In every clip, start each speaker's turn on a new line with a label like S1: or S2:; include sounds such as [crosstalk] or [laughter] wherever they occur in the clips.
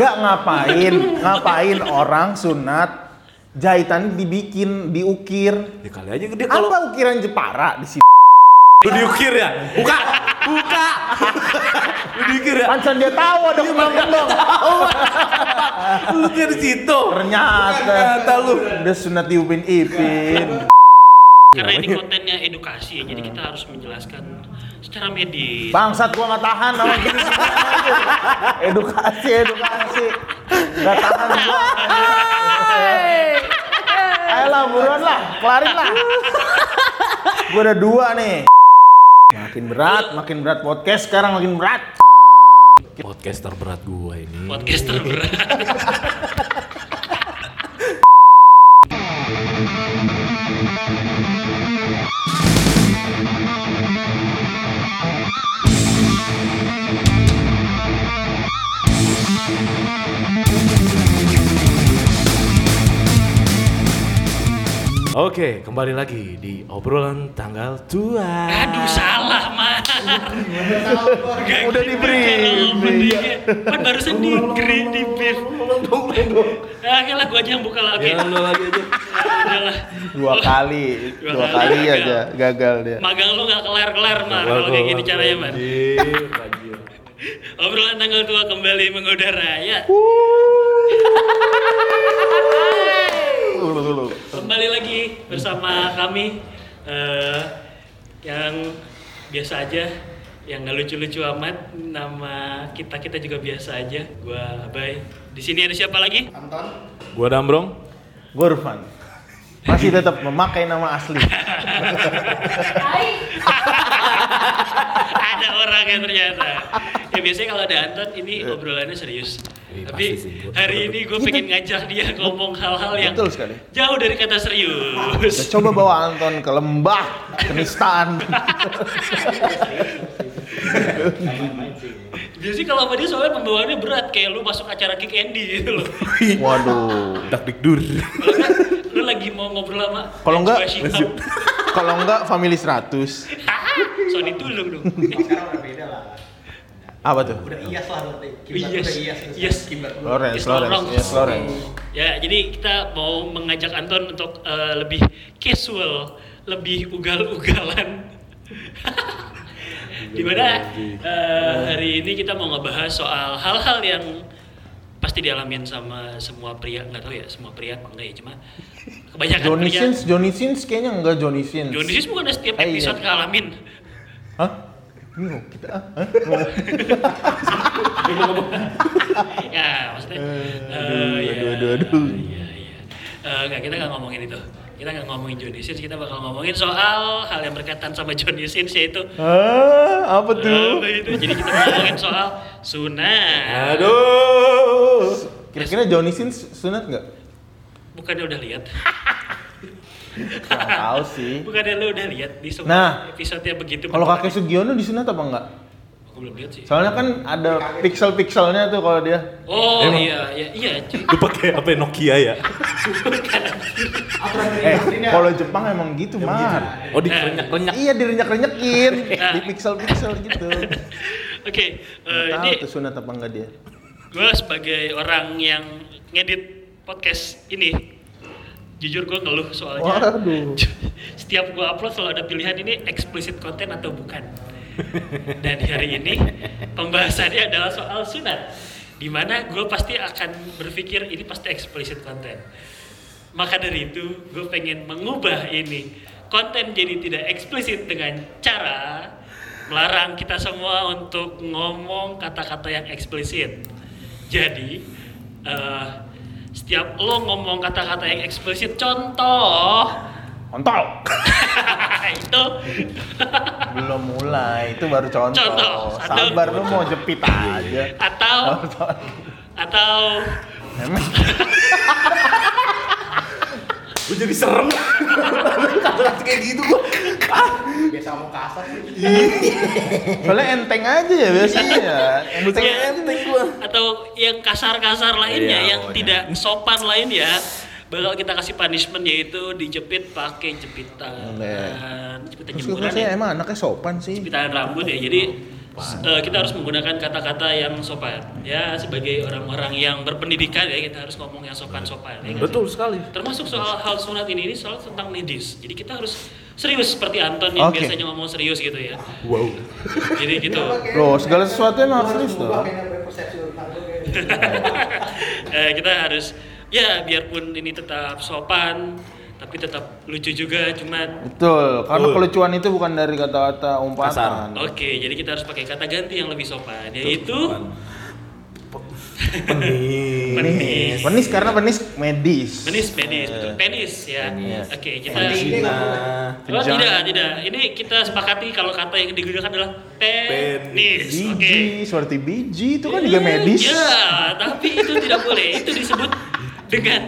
S1: Gak ngapain, ngapain orang sunat jahitan dibikin, diukir.
S2: Ya kali aja gede kalau
S1: Apa ukiran Jepara di sini?
S2: lu diukir ya? Buka, [laughs] buka. lu diukir ya?
S1: Pansan dia tahu ada kurang dong.
S2: Lu dari situ.
S1: Ternyata,
S2: Ternyata lu.
S1: udah sunat diupin ipin.
S3: Karena ini kontennya edukasi ya, jadi kita harus menjelaskan secara medis.
S1: Bangsat gua nggak tahan sama gini semua. Edukasi, edukasi. Gak tahan gua. Ayolah buruan lah, kelarin lah. Gua ada dua nih. Makin berat, makin berat podcast sekarang makin berat.
S2: Podcast terberat gua ini.
S3: Podcast terberat.
S2: Oke, kembali lagi di obrolan tanggal tua.
S3: Aduh salah Mar. Gak
S1: Udah Iya.
S3: gitu
S1: diberi.
S3: cara mendingnya. Kan barusan di green di beef. Nah, oke lah gua aja yang buka lah. Oke.
S2: Ya lu lagi aja.
S3: Udah lah.
S1: Iya. Dua kali,
S3: Dua
S1: dua
S3: kali
S1: kali
S3: gagal.
S1: aja gagal dia.
S3: Magang lu gak kelar-kelar Mar kalau kayak gini caranya Mar.
S2: Anjir, anjir.
S3: Obrolan tanggal tua kembali mengudara ya. Kembali lagi bersama kami eh, yang biasa aja, yang gak lucu-lucu amat. Nama kita kita juga biasa aja. Gua Abai. Di sini ada siapa lagi?
S2: Gua Dambrong.
S1: Gua Irfan. Masih tetap memakai nama asli.
S3: ada orang yang ternyata. Ya biasanya kalau ada Anton ini obrolannya serius.
S2: Ini
S3: Tapi
S2: Eh. Iya, pasti sih, gua-
S3: hari ini gue pengen ngajak dia ngomong hal-hal yang
S1: Betul sekali.
S3: jauh dari kata serius.
S1: Kita coba bawa Anton ke lembah kenistaan.
S3: Biasanya kalau sama dia soalnya pembawaannya berat kayak lu masuk acara kick Andy gitu loh.
S1: Waduh.
S2: Tak dikdur.
S3: Kalau enggak, lu lagi mau ngobrol sama
S1: Kalau enggak,
S3: Najwa Shihab.
S1: Kalau enggak family 100.
S3: Sony dulu dong. Eh,
S4: sekarang udah beda lah
S1: Apa tuh?
S4: udah ias lah berarti
S3: Yes,
S4: Kimber udah ias terus
S3: yes.
S4: Kimber
S1: Lawrence,
S3: Yes,
S1: Lawrence,
S3: Lawrence.
S1: yes Lawrence.
S3: Ya, jadi kita mau mengajak Anton untuk eh, lebih casual, lebih ugal-ugalan. [laughs] Dimana eh, hari ini kita mau ngebahas soal hal-hal yang pasti dialamin sama semua pria, nggak tahu ya semua pria apa enggak ya, cuma kebanyakan
S1: Johnny
S3: pria.
S1: Sins, Johnny Sins kayaknya enggak Johnny Sins.
S3: Johnny Sins bukan setiap
S1: Eh, iya.
S3: episode ngalamin.
S1: Hah? Bingung kita. ah. Hah?
S3: ya, maksudnya.
S1: aduh,
S3: eh,
S1: aduh,
S3: ya,
S1: aduh, aduh.
S3: Iya, iya. Eh, nggak, kita nggak ngomongin itu. Kita nggak ngomongin Johnny Sins, kita bakal ngomongin soal hal yang berkaitan sama Johnny Sins yaitu
S1: Hah? Eh, Apa tuh?
S3: Apa itu? Jadi kita ngomongin soal sunat.
S2: Aduh.
S1: Kira-kira Johnny Sins sunat enggak?
S3: Bukannya udah lihat?
S1: Enggak tahu sih.
S3: Bukannya lu udah lihat di semua
S1: Nah,
S3: episode yang begitu?
S1: Kalau kakek
S3: berkali-
S1: Sugiono disunat apa enggak?
S3: Aku belum lihat sih.
S1: Soalnya kan ada pixel-pixelnya tuh kalau dia.
S3: Oh
S2: Emang?
S3: iya, iya, iya. cuy. [laughs]
S2: Lu pakai apa ya, Nokia ya?
S1: Eh, kalau Jepang emang gitu, Mar.
S2: Oh, dikerenyak-kerenyak.
S1: Iya, direnyak-renyakin, di pixel-pixel gitu.
S3: Oke, eh,
S1: Nggak
S3: ini
S1: Tahu tuh sunat apa enggak dia?
S3: gue sebagai orang yang ngedit podcast ini jujur gue ngeluh soalnya
S1: Waduh.
S3: [laughs] setiap gue upload selalu ada pilihan ini eksplisit konten atau bukan dan hari ini pembahasannya adalah soal sunat dimana gue pasti akan berpikir ini pasti eksplisit konten maka dari itu gue pengen mengubah ini konten jadi tidak eksplisit dengan cara melarang kita semua untuk ngomong kata-kata yang eksplisit jadi eh, setiap lo ngomong kata-kata yang eksplisit contoh
S1: Kontol.
S3: [laughs] itu
S1: belum mulai itu baru contoh,
S3: Contoh, satu.
S1: sabar lu mau jepit aja
S3: [laughs] atau atau
S1: emang
S3: Eh.
S2: Gue jadi serem. Kata-kata kayak gitu gua.
S4: biasa ngomong kasar sih
S1: soalnya enteng aja ya biasanya ya enteng
S3: ya,
S1: enteng gua
S3: atau yang kasar-kasar lainnya
S2: Iya,
S3: yang
S2: pokoknya.
S3: tidak sopan lainnya bakal kita kasih punishment yaitu dijepit pakai jepitan
S1: Boleh.
S3: jepitan
S1: terus gua
S3: jemuran
S1: rasanya
S3: ya.
S1: emang anaknya sopan sih
S3: jepitan rambut ya jadi Eh, kita harus menggunakan kata-kata yang sopan. Ya sebagai orang-orang yang berpendidikan ya kita harus ngomong yang sopan-sopan. Ya, nggak sih?
S2: Betul sekali.
S3: Termasuk soal hal sunat ini, ini soal tentang medis. Jadi kita harus serius seperti Anton yang
S1: Oke.
S3: biasanya ngomong serius gitu ya.
S2: Wow.
S3: Jadi gitu.
S1: Loh, segala sesuatu emang harus serius,
S4: Gua
S1: dong.
S4: pengen persepsi tentang lu kayak gitu.
S3: [laughs] Eh, kita harus ya biarpun ini tetap sopan tapi tetap lucu juga cuma
S1: Betul, karena
S2: Betul.
S1: kelucuan itu bukan dari kata-kata
S2: Kasar.
S1: umpatan.
S3: oke jadi kita harus pakai kata ganti yang lebih sopan yaitu
S2: penis.
S3: Penis.
S2: iya.
S1: Penis karena penis medis.
S3: penis penis betul penis ya
S2: Penis.
S3: oke kita
S2: Vagina.
S3: Oh,
S1: Jangan.
S3: tidak, tidak. Ini kita sepakati kalau kata yang digunakan adalah penis.
S1: Biji,
S3: Oke.
S1: seperti biji itu kan juga medis.
S3: Ya, tapi itu tidak boleh. Itu disebut dengan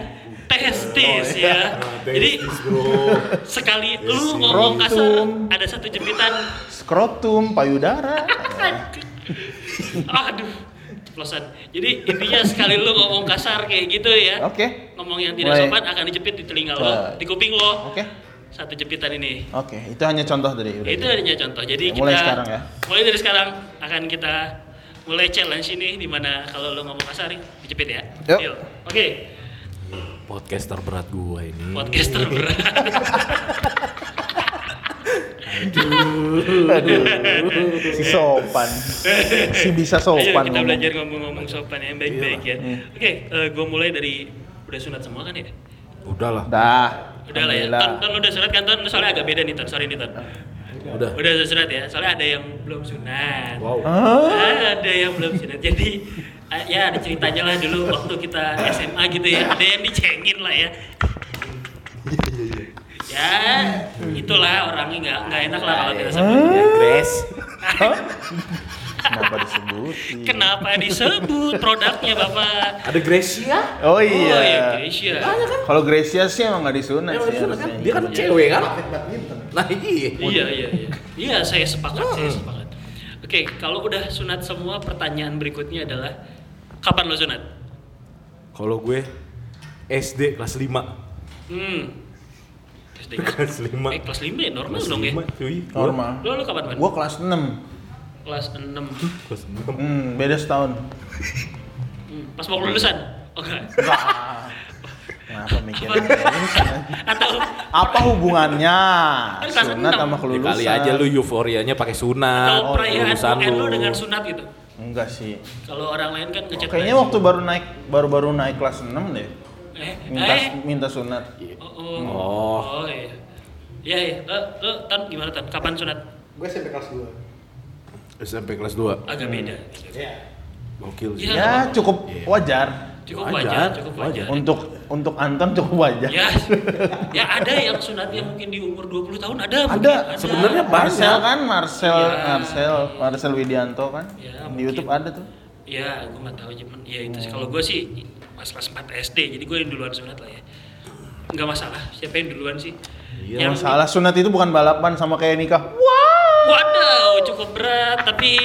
S3: testis
S2: Oh, [laughs] iya.
S3: ya. Jadi
S2: Testis, Nah, bro.
S3: sekali
S2: Yes,
S3: lu ngomong kasar
S1: Rotum.
S3: ada satu jempitan.
S1: Skrotum,
S3: [laughs]
S1: payudara.
S3: Aduh, ceplosan. Jadi intinya sekali lu ngomong kasar kayak gitu ya.
S1: Oke.
S3: Ngomong yang tidak
S1: Baik.
S3: sopan akan dijepit di telinga lo,
S1: Baik.
S3: di kuping lo.
S1: Oke.
S3: Satu jepitan ini.
S1: Oke, itu hanya contoh tadi. udah.
S3: Ya, itu adanya contoh. Jadi
S1: Ya,
S3: kita
S1: mulai sekarang ya.
S3: Mulai dari sekarang akan kita mulai challenge ini di mana kalau lo ngomong kasar dijepit ya.
S1: Yuk.
S3: Oke,
S2: Podcast terberat gua ini.
S3: podcast terberat.
S1: [laughs] Si sopan. Si bisa sopan.
S3: Ayo kita
S1: ngomong.
S3: belajar ngomong-ngomong sopan yang baik-baik ya.
S1: Iya.
S3: Oke, eh, gua mulai dari udah sunat semua kan ya?
S2: Udahlah.
S1: Dah.
S3: Udah lah ya.
S1: Alhamdulillah. Ah.
S3: Ton, ton lo udah sunat kan Ton? Lo Soalnya agak beda nih Ton. Sorry nih Ton.
S2: Udah.
S3: Udah sunat ya. Soalnya ada yang belum sunat.
S2: Wow.
S1: Hah?
S3: Ah, ada yang belum sunat. Jadi eh, ya ada ceritanya lah dulu waktu kita SMA gitu ya. Ada yang dicengin lah ya. ya, itulah orangnya nggak nggak enak lah kalau kita sebut.
S2: Ya, Grace.
S1: Kenapa disebutin?
S3: [laughs] Kenapa disebut produknya bapak?
S2: Ada Grace ya?
S1: Oh
S3: Oh ya
S1: iya.
S3: Gracia.
S1: Kalau Gracia sih emang nggak disunat sih harusnya.
S2: Dia kan cewek kan?
S4: atlet badminton.
S2: Nah iya.
S3: Iya iya iya. Iya saya sepakat saya
S1: Hmm.
S3: sepakat. Oke kalau udah sunat semua pertanyaan berikutnya adalah kapan lo sunat?
S2: Kalau gue SD kelas 5.
S3: Hmm. Terus dia-
S2: Kelas 5.
S3: Eh, kelas 5 ya normal
S2: Kelas
S3: dong ya.
S2: 5 cuy.
S1: Normal.
S3: Lo lo kapan man?
S1: Gua kelas 6.
S3: Kelas 6.
S2: Kelas 6.
S1: Hmm, beda
S3: [laughs]
S1: setahun.
S3: Hmm. Pas mau Oh, lulusan. Oke.
S1: Wah. Kenapa mikirin terus?
S3: Atau
S1: Apa hubungannya
S3: Kan kelas
S1: sunat
S3: enam.
S1: sama
S2: Ya,
S1: kelulusan?
S2: kali aja lu euforianya pakai sunat.
S3: atau perayaan
S2: lulusan
S3: UN lo
S2: oh, lu.
S3: dengan sunat gitu.
S1: Enggak sih.
S3: Kalau orang lain kan ngechat.
S1: Kayaknya
S3: lagi.
S1: waktu baru naik baru-baru naik kelas 6 deh.
S3: eh,
S1: Minta
S3: eh.
S1: minta sunat.
S2: Iya.
S3: Oh, oh.
S2: Oh.
S3: Oh, iya. Iya iya. Lo lo tan gimana tan? Kapan sunat?
S4: Gue SMP kelas 2.
S2: SMP kelas 2.
S3: Agak beda.
S4: Iya.
S2: Gokil sih.
S3: Iya.
S1: Ya cukup
S2: Iya.
S1: wajar.
S2: Wajar,
S3: Cukup wajar, cukup wajar.
S2: wajar.
S1: Untuk untuk Anton cukup wajar.
S3: Ya, ya ada yang sunatnya mungkin di umur 20 tahun ada. mungkin,
S1: Ada
S2: Sebenarnya banyak.
S1: Marcel kan Marcel
S3: Iya.
S1: Marcel Marcel Widianto kan di
S3: Iya, mungkin.
S1: YouTube ada tuh.
S3: Ya, gue nggak tahu cuman ya itu
S2: Hmm.
S3: sih kalau gue sih pas kelas 4 SD, jadi gue yang duluan sunat lah ya. Nggak masalah, siapa yang duluan sih?
S2: Iya,
S1: Yang salah sunat itu bukan balapan sama kayak nikah. Wah.
S3: Waduh, cukup berat, tapi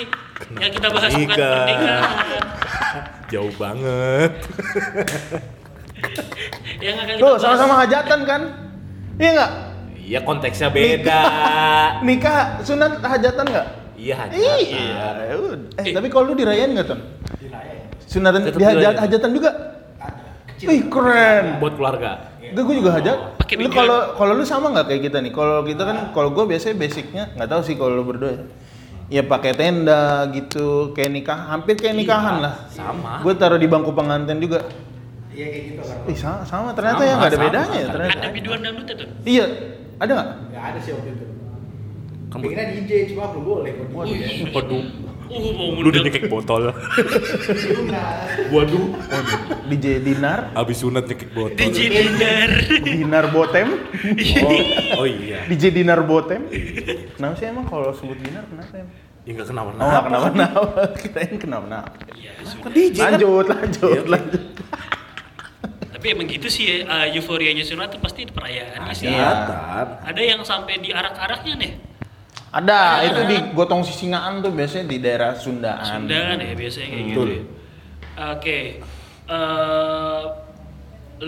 S3: yang kita bahas bukan
S2: Nikah.
S3: pernikahan.
S2: Jauh banget.
S3: Yang akan kita
S1: Tuh
S3: bahas-
S1: sama-sama hajatan kan? Iya nggak?
S2: Iya konteksnya beda. [laughs]
S1: Nikah sunat hajatan nggak?
S2: Iya
S1: Iya.
S2: hajatan.
S1: Eh,
S3: Eh.
S1: tapi kalau lu dirayain nggak Ton?
S4: Dirayain.
S1: Sunatan
S2: Tetep
S1: di haja-
S2: dirayain.
S1: hajatan juga?
S4: Ada. Kecil.
S1: Ih keren.
S2: Buat keluarga.
S1: Gue gue juga hajat.
S3: Pakai
S1: Lu
S3: pinggiran.
S1: kalau kalau lu sama nggak kayak kita nih? Kalau kita kan kalau gue biasanya basicnya nggak tahu sih kalau lu berdua ya. Ya pakai tenda gitu, kayak nikah, hampir kayak nikahan lah.
S2: Sama.
S1: Gue taruh di bangku pengantin juga.
S4: Iya kayak gitu kan.
S1: Ih sama, sama ternyata
S2: Sama,
S1: ya nggak ada
S2: sama,
S1: bedanya ya
S2: sama.
S1: ternyata.
S3: ada biduan dangdut ya, itu.
S1: Iya, ada nggak?
S4: Enggak ada sih waktu itu.
S2: Kamu
S4: Pikirnya DJ cuma belum boleh kok DJ.
S2: Waduh.
S3: Uh, mau
S2: Lu udah
S3: ngundang.
S2: nyekik
S1: [laughs]
S2: botol.
S4: Nah,
S2: Waduh.
S1: DJ Dinar,
S2: Abis sunat nyekik botol.
S3: DJ Dinar.
S1: Dinar Botem,
S2: Oh, oh iya.
S1: DJ Dinar Botem. Kenapa sih emang kalau sebut Dinar kenapa emang?
S2: Ya nggak
S1: Oh nggak
S2: kenapa-napa.
S1: kenapa-napa, [laughs] kirain kenapa-napa.
S3: Ya, sudah.
S2: Kok DJ kan?
S1: Lanjut, lanjut,
S2: Iya.
S1: lanjut.
S3: Tapi emang gitu sih ya, uh, euforianya sunat tuh pasti di perayaan sih.
S1: Iya.
S2: Hajatan.
S3: Ada yang sampai diarak-araknya nih.
S1: Ada, itu di Gotong Sisingaan tuh biasanya di daerah Sundaan.
S3: Sunda kan ya biasanya kayak gitu.
S2: Betul.
S3: ya. Oke. eh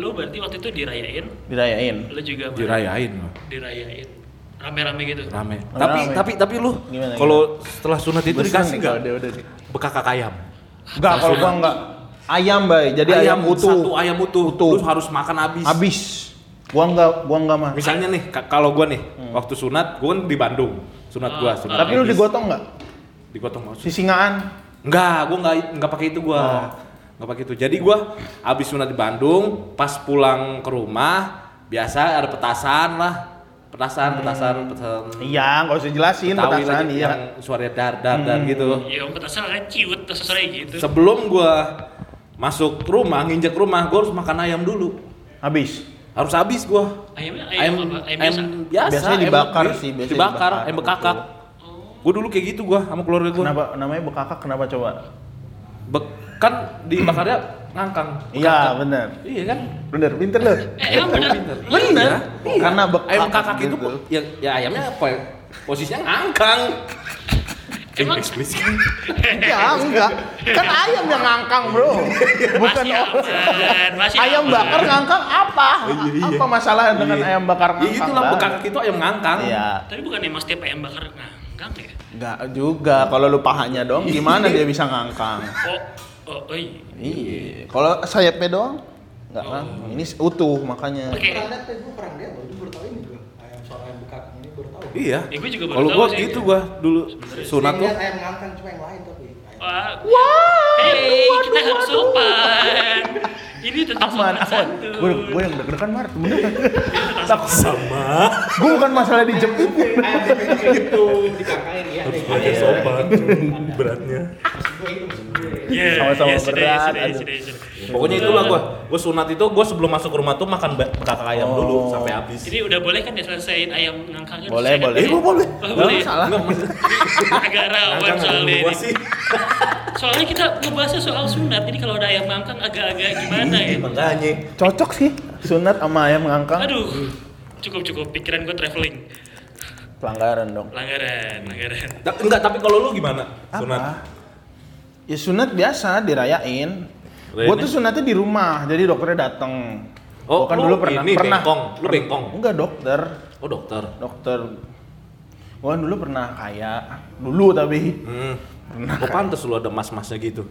S3: lu berarti waktu itu dirayain,
S1: Dirayain.
S3: lu juga Mar?
S2: Dirayain.
S3: dirayain. rame-rame gitu.
S2: Rame.
S1: Rame.
S2: Tapi tapi tapi lu
S1: Gimana,
S2: kalau setelah sunat
S1: Gua
S2: itu
S1: seneng
S2: dikasih
S1: nih
S2: enggak?
S1: kalau dia udah nih.
S2: Bekak kakak ayam.
S1: Enggak, kalau gua enggak. Ayam, Bay. Jadi ayam, utuh.
S2: Satu ayam utuh.
S1: Utuh.
S2: Lu harus makan habis.
S1: Habis. Gua enggak, gua enggak mah.
S2: Misalnya nih ka- kalau gua nih waktu sunat gua kan di Bandung. Sunat gua
S1: Hmm.
S2: sunat.
S1: Ah. Tapi lu
S2: medis.
S1: digotong enggak?
S2: digotong maksud.
S1: Sisingaan.
S2: Enggak, gua enggak enggak pakai itu gua.
S1: Oh.
S2: Enggak pakai itu. Jadi gua habis sunat di Bandung, pas pulang ke rumah biasa ada petasan lah. Petasan, petasan, petasan.
S1: Hmm. Iya, enggak usah jelasin
S2: Betawi
S1: petasan
S2: lagi
S1: iya. Hmm.
S2: yang suara dar dar dar gitu.
S3: Ya om petasan kan ciut terus sore gitu.
S2: Sebelum gua masuk rumah, nginjek rumah, gua harus makan ayam dulu.
S1: Habis.
S2: Harus habis gua.
S3: Ayamnya ayam, apa? Ayam, biasa.
S2: biasa.
S1: Biasanya
S2: ayam-
S1: dibakar sih, biasanya
S2: dibakar,
S1: dibakar.
S2: ayam bekakak.
S3: Oh.
S2: Gua dulu kayak gitu gua sama keluarga gua.
S1: Kenapa namanya bekakak kenapa coba?
S2: Bek- kan dibakarnya ngangkang.
S1: Iya, benar.
S2: Iya kan?
S1: Bener, pinter lu.
S3: Eh, emang bener.
S1: Bener.
S2: Iya.
S1: Karena bekakak
S2: ayam kakak itu
S1: gitu.
S2: po- ya, ya ayamnya apa? ya? Posisinya ngangkang.
S3: Emang-
S2: eksplisit.
S1: [laughs] Ya, enggak. Kan ayam yang ngangkang, Bro. [laughs] Bukan oh.
S3: Masih aman, masih
S1: ayam
S3: aman.
S1: bakar ngangkang apa? Apa masalah [laughs] dengan
S2: Oh, Iya.
S1: ayam bakar
S2: Ya
S1: ngangkang?
S2: itulah
S1: Bang?
S2: bekakak itu ayam ngangkang.
S1: Iya.
S3: Tapi bukan emang setiap ayam bakar ngangkang ya?
S1: Enggak juga. Kalau lu pahanya doang
S2: Iya.
S1: gimana dia bisa ngangkang?
S3: Oh, oh, oh iya.
S1: Iya. Kalau sayapnya doang enggak ngangkang.
S2: Oh.
S1: Ini utuh makanya.
S3: Oke.
S4: Perang dia, gue perang dia, baru baru tahu ini gue. Ayam soal ayam bekak ini baru tahu.
S2: Iya.
S3: Ya, gua juga baru
S2: Kalau
S3: tahu
S2: gua
S3: sih.
S2: gitu gua dulu sunat
S4: Saya
S2: tuh
S4: ngeliat ayam ngangkang cuma yang lain tapi. ayam-
S3: Wah. Hey, kita harus sopan. Ini tentang
S1: Aman,
S3: sopan
S1: aman.
S3: santun.
S1: Gue gue yang deg-degan Mar, bener. Takut.
S2: Iya. sama
S1: Gue bukan masalah dijemput.
S4: Ayam gitu, bekak itu dikangkangin ya.
S2: aja
S1: Iya.
S2: sopan [laughs] beratnya.
S4: Ah, Iya.
S3: Ya,
S1: Sama-sama
S3: ya, sudah,
S1: berat,
S3: sudah,
S1: aduh.
S3: sudah, sudah.
S2: Pokoknya itulah gua. Gua sunat itu gua sebelum masuk ke rumah tuh makan ba- bekakak ayam
S1: Oh.
S2: dulu sampai habis.
S3: Ini udah boleh kan ya selesaiin ayam ngangkangnya?
S1: Boleh,
S3: Silakan.
S1: boleh. Eh, gua
S2: boleh.
S3: Oh,
S1: Nggak
S3: boleh.
S1: masalah.
S2: Enggak mas.
S3: Agak rawan
S2: Ngangkang
S3: soalnya
S2: gua
S3: ini.
S2: sih.
S3: Soalnya kita ngebahasnya soal sunat, ini kalau ada ayam ngangkang agak-agak gimana ya?
S2: Ih, Iya, Makanya.
S1: Cocok sih sunat sama ayam ngangkang.
S3: Aduh, cukup-cukup pikiran gue traveling.
S1: Pelanggaran dong.
S3: Langgaran, langgaran.
S2: Ta- Enggak, tapi kalau lu gimana?
S1: Apa?
S2: Sunat.
S1: Ya sunat biasa dirayain.
S2: Rayainnya?
S1: Gue tuh sunatnya di rumah, jadi dokternya datang.
S2: Oh,
S1: Gua kan
S2: lu
S1: dulu pernah
S2: ini
S1: pernah
S2: bengkong. Lu
S1: pernah-
S2: bengkong.
S1: Enggak dokter,
S2: Oh, dokter.
S1: dokter. Gua kan dulu pernah kaya, dulu tapi
S2: Hmm. Kok pantas lu ada mas-masnya gitu?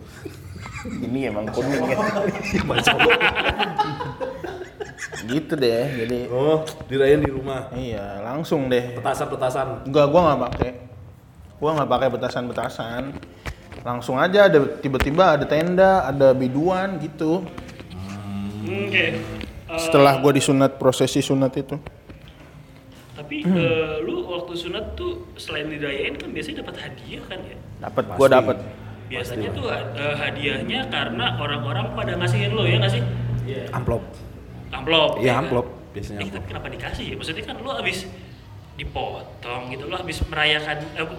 S1: ini emang kuning ya. gitu deh, jadi
S2: Oh, dirayain di rumah.
S1: iya langsung deh.
S2: Petasan-petasan.
S1: Enggak, gua nggak pakai. Gua nggak pakai petasan-petasan. Langsung aja ada tiba-tiba ada tenda, ada biduan gitu.
S3: Hmm, Oke. Eh,
S1: Setelah gua disunat prosesi sunat itu.
S3: tapi eh, lu waktu sunat tuh selain dirayain kan biasanya dapat hadiah kan ya?
S1: Dapat, gua
S2: Pasti.
S1: dapat.
S3: Biasanya tuh eh, hadiahnya karena orang-orang pada ngasihin lo ya ngasih
S2: Amplop.
S3: amplop.
S2: Iya,
S3: kan?
S2: amplop. Biasanya
S3: Eh,
S2: amplop.
S3: tapi kenapa dikasih ya? Maksudnya kan lu habis dipotong gitu, lu habis merayakan, eh,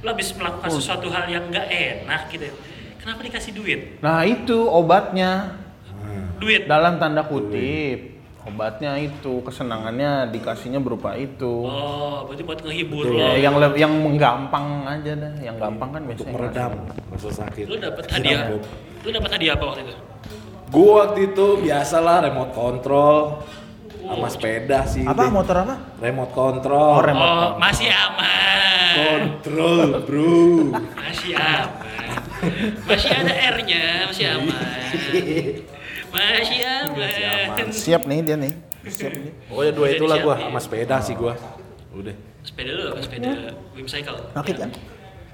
S3: lu habis melakukan
S2: Oh.
S3: sesuatu hal yang nggak enak gitu. Kenapa dikasih duit?
S1: Nah itu obatnya
S2: Hmm.
S3: Duit.
S1: dalam tanda kutip obatnya itu kesenangannya dikasihnya berupa itu.
S3: Oh, berarti buat ngehibur
S2: Betul. Iya.
S3: lo.
S1: Ya, yang le- yang menggampang aja dah, yang gampang kan
S2: Untuk
S1: biasanya.
S2: meredam rasa sakit.
S3: Lu dapat hadiah.
S2: Amplop.
S3: Lu dapat hadiah apa waktu itu?
S2: Gua waktu itu biasalah remote control sama sepeda sih.
S1: Apa
S2: Deh.
S1: motor apa?
S2: Remote control.
S1: Oh, remote.
S3: Oh, masih
S2: Oh.
S3: aman.
S2: control, bro.
S3: Masih aman. Masih ada R-nya, masih
S2: Iya.
S3: aman. Masih
S2: Masih aman.
S3: aman.
S1: Siap nih dia nih. Siap nih.
S2: Pokoknya Oh, ya, dua itulah gua sama sepeda sih gua. Udah.
S3: Sepeda lu apa? Sepeda Wim Cycle. Iya.
S1: Sakit kan?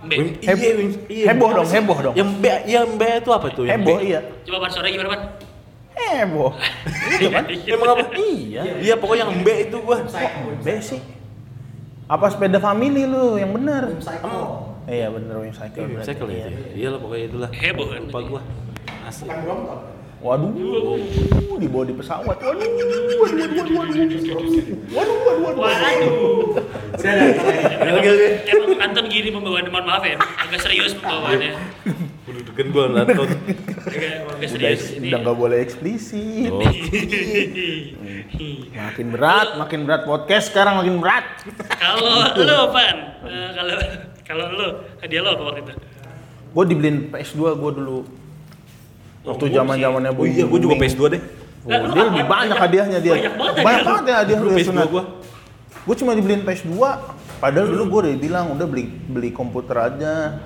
S3: Ben.
S2: Iya,
S1: Heb-
S2: Wim- iya.
S1: heboh
S2: Apa
S1: dong,
S2: sih?
S1: heboh dong.
S2: Yang B, yang B itu apa tuh? Yang
S1: Heboh
S2: B?
S1: iya.
S3: Coba ban sore gimana, Ban?
S1: Heboh.
S3: Gitu kan?
S2: Iya Emang apa?
S1: Iya.
S2: Iya, pokoknya yang B itu gua.
S1: B sih. Apa sepeda family lu yang benar?
S4: Psycho.
S1: Iya bener wing cycle.
S2: Wim
S1: berarti,
S2: Cycle ya.
S1: iya.
S2: Iya lah pokoknya itulah.
S3: Heboh kan?
S2: Lupa gua. Asli.
S4: Bukan brompton.
S1: Waduh, dibawa di pesawat. Waduh, waduh, waduh, waduh, waduh, waduh, waduh, waduh.
S3: Waduh.
S4: Udah udah, udah.
S2: Iya,
S3: Emang Anton gini pembawaan mohon maaf ya. Agak serius pembawaannya.
S2: Udah degen gua nonton.
S3: Agak, agak
S1: Udah,
S3: serius ini.
S1: udah nggak boleh eksplisit. Hmm.
S2: Oh.
S1: Makin berat, makin berat podcast sekarang makin berat.
S3: Kalau lu, Pan, eh, kalau kalau lu hadiah lo apa waktu itu?
S1: Gue dibeliin PS2 gue dulu. Waktu
S3: Oh,
S1: zaman zamannya
S2: Oh iya, gua juga PS2 deh.
S1: dia lebih banyak hadiahnya dia.
S3: Banyak banget
S1: Banyak banget ya hadiah
S2: Gua
S1: lu ya,
S2: PS2
S1: sunat.
S2: gua.
S1: Gue cuma dibeliin PS2, padahal dulu gue udah bilang udah beli beli komputer aja.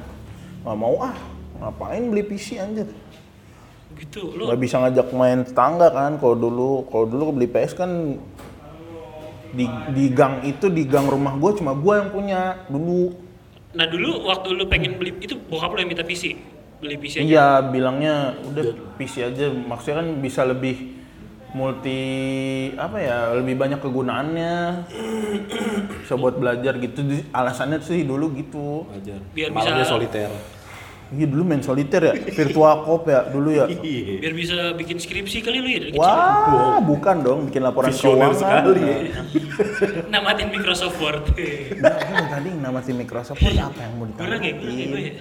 S1: Gak mau ah, ngapain beli PC anjir.
S3: gitu lo
S1: Gak bisa ngajak main tetangga kan kalau dulu. Kalau dulu gua beli PS kan di, di gang itu di gang rumah gue cuma gue yang punya dulu.
S3: nah dulu waktu lu pengen beli itu bokap lu yang minta PC beli PC aja
S1: Iya, bilangnya
S2: Iya.
S1: udah PC aja. Maksudnya kan bisa lebih multi apa ya, lebih banyak kegunaannya. [clears throat] bisa buat belajar gitu. Di- Alasannya sih dulu gitu.
S2: Wajar.
S3: Biar
S2: Malamnya
S3: bisa-
S2: soliter.
S1: Iya dulu main soliter ya, virtual cop ya dulu ya.
S2: [laughs] Iya.
S3: biar bisa bikin skripsi kali lu ya dari kecil
S1: Wah, bukan dong bikin laporan
S2: Visioner
S1: keuangan.
S2: sekali ya.
S3: namatin Microsoft
S1: [laughs]
S3: Word
S1: Nah, ini tadi yang nama si Microsoft Word apa yang mau
S3: kurang ya kurang ya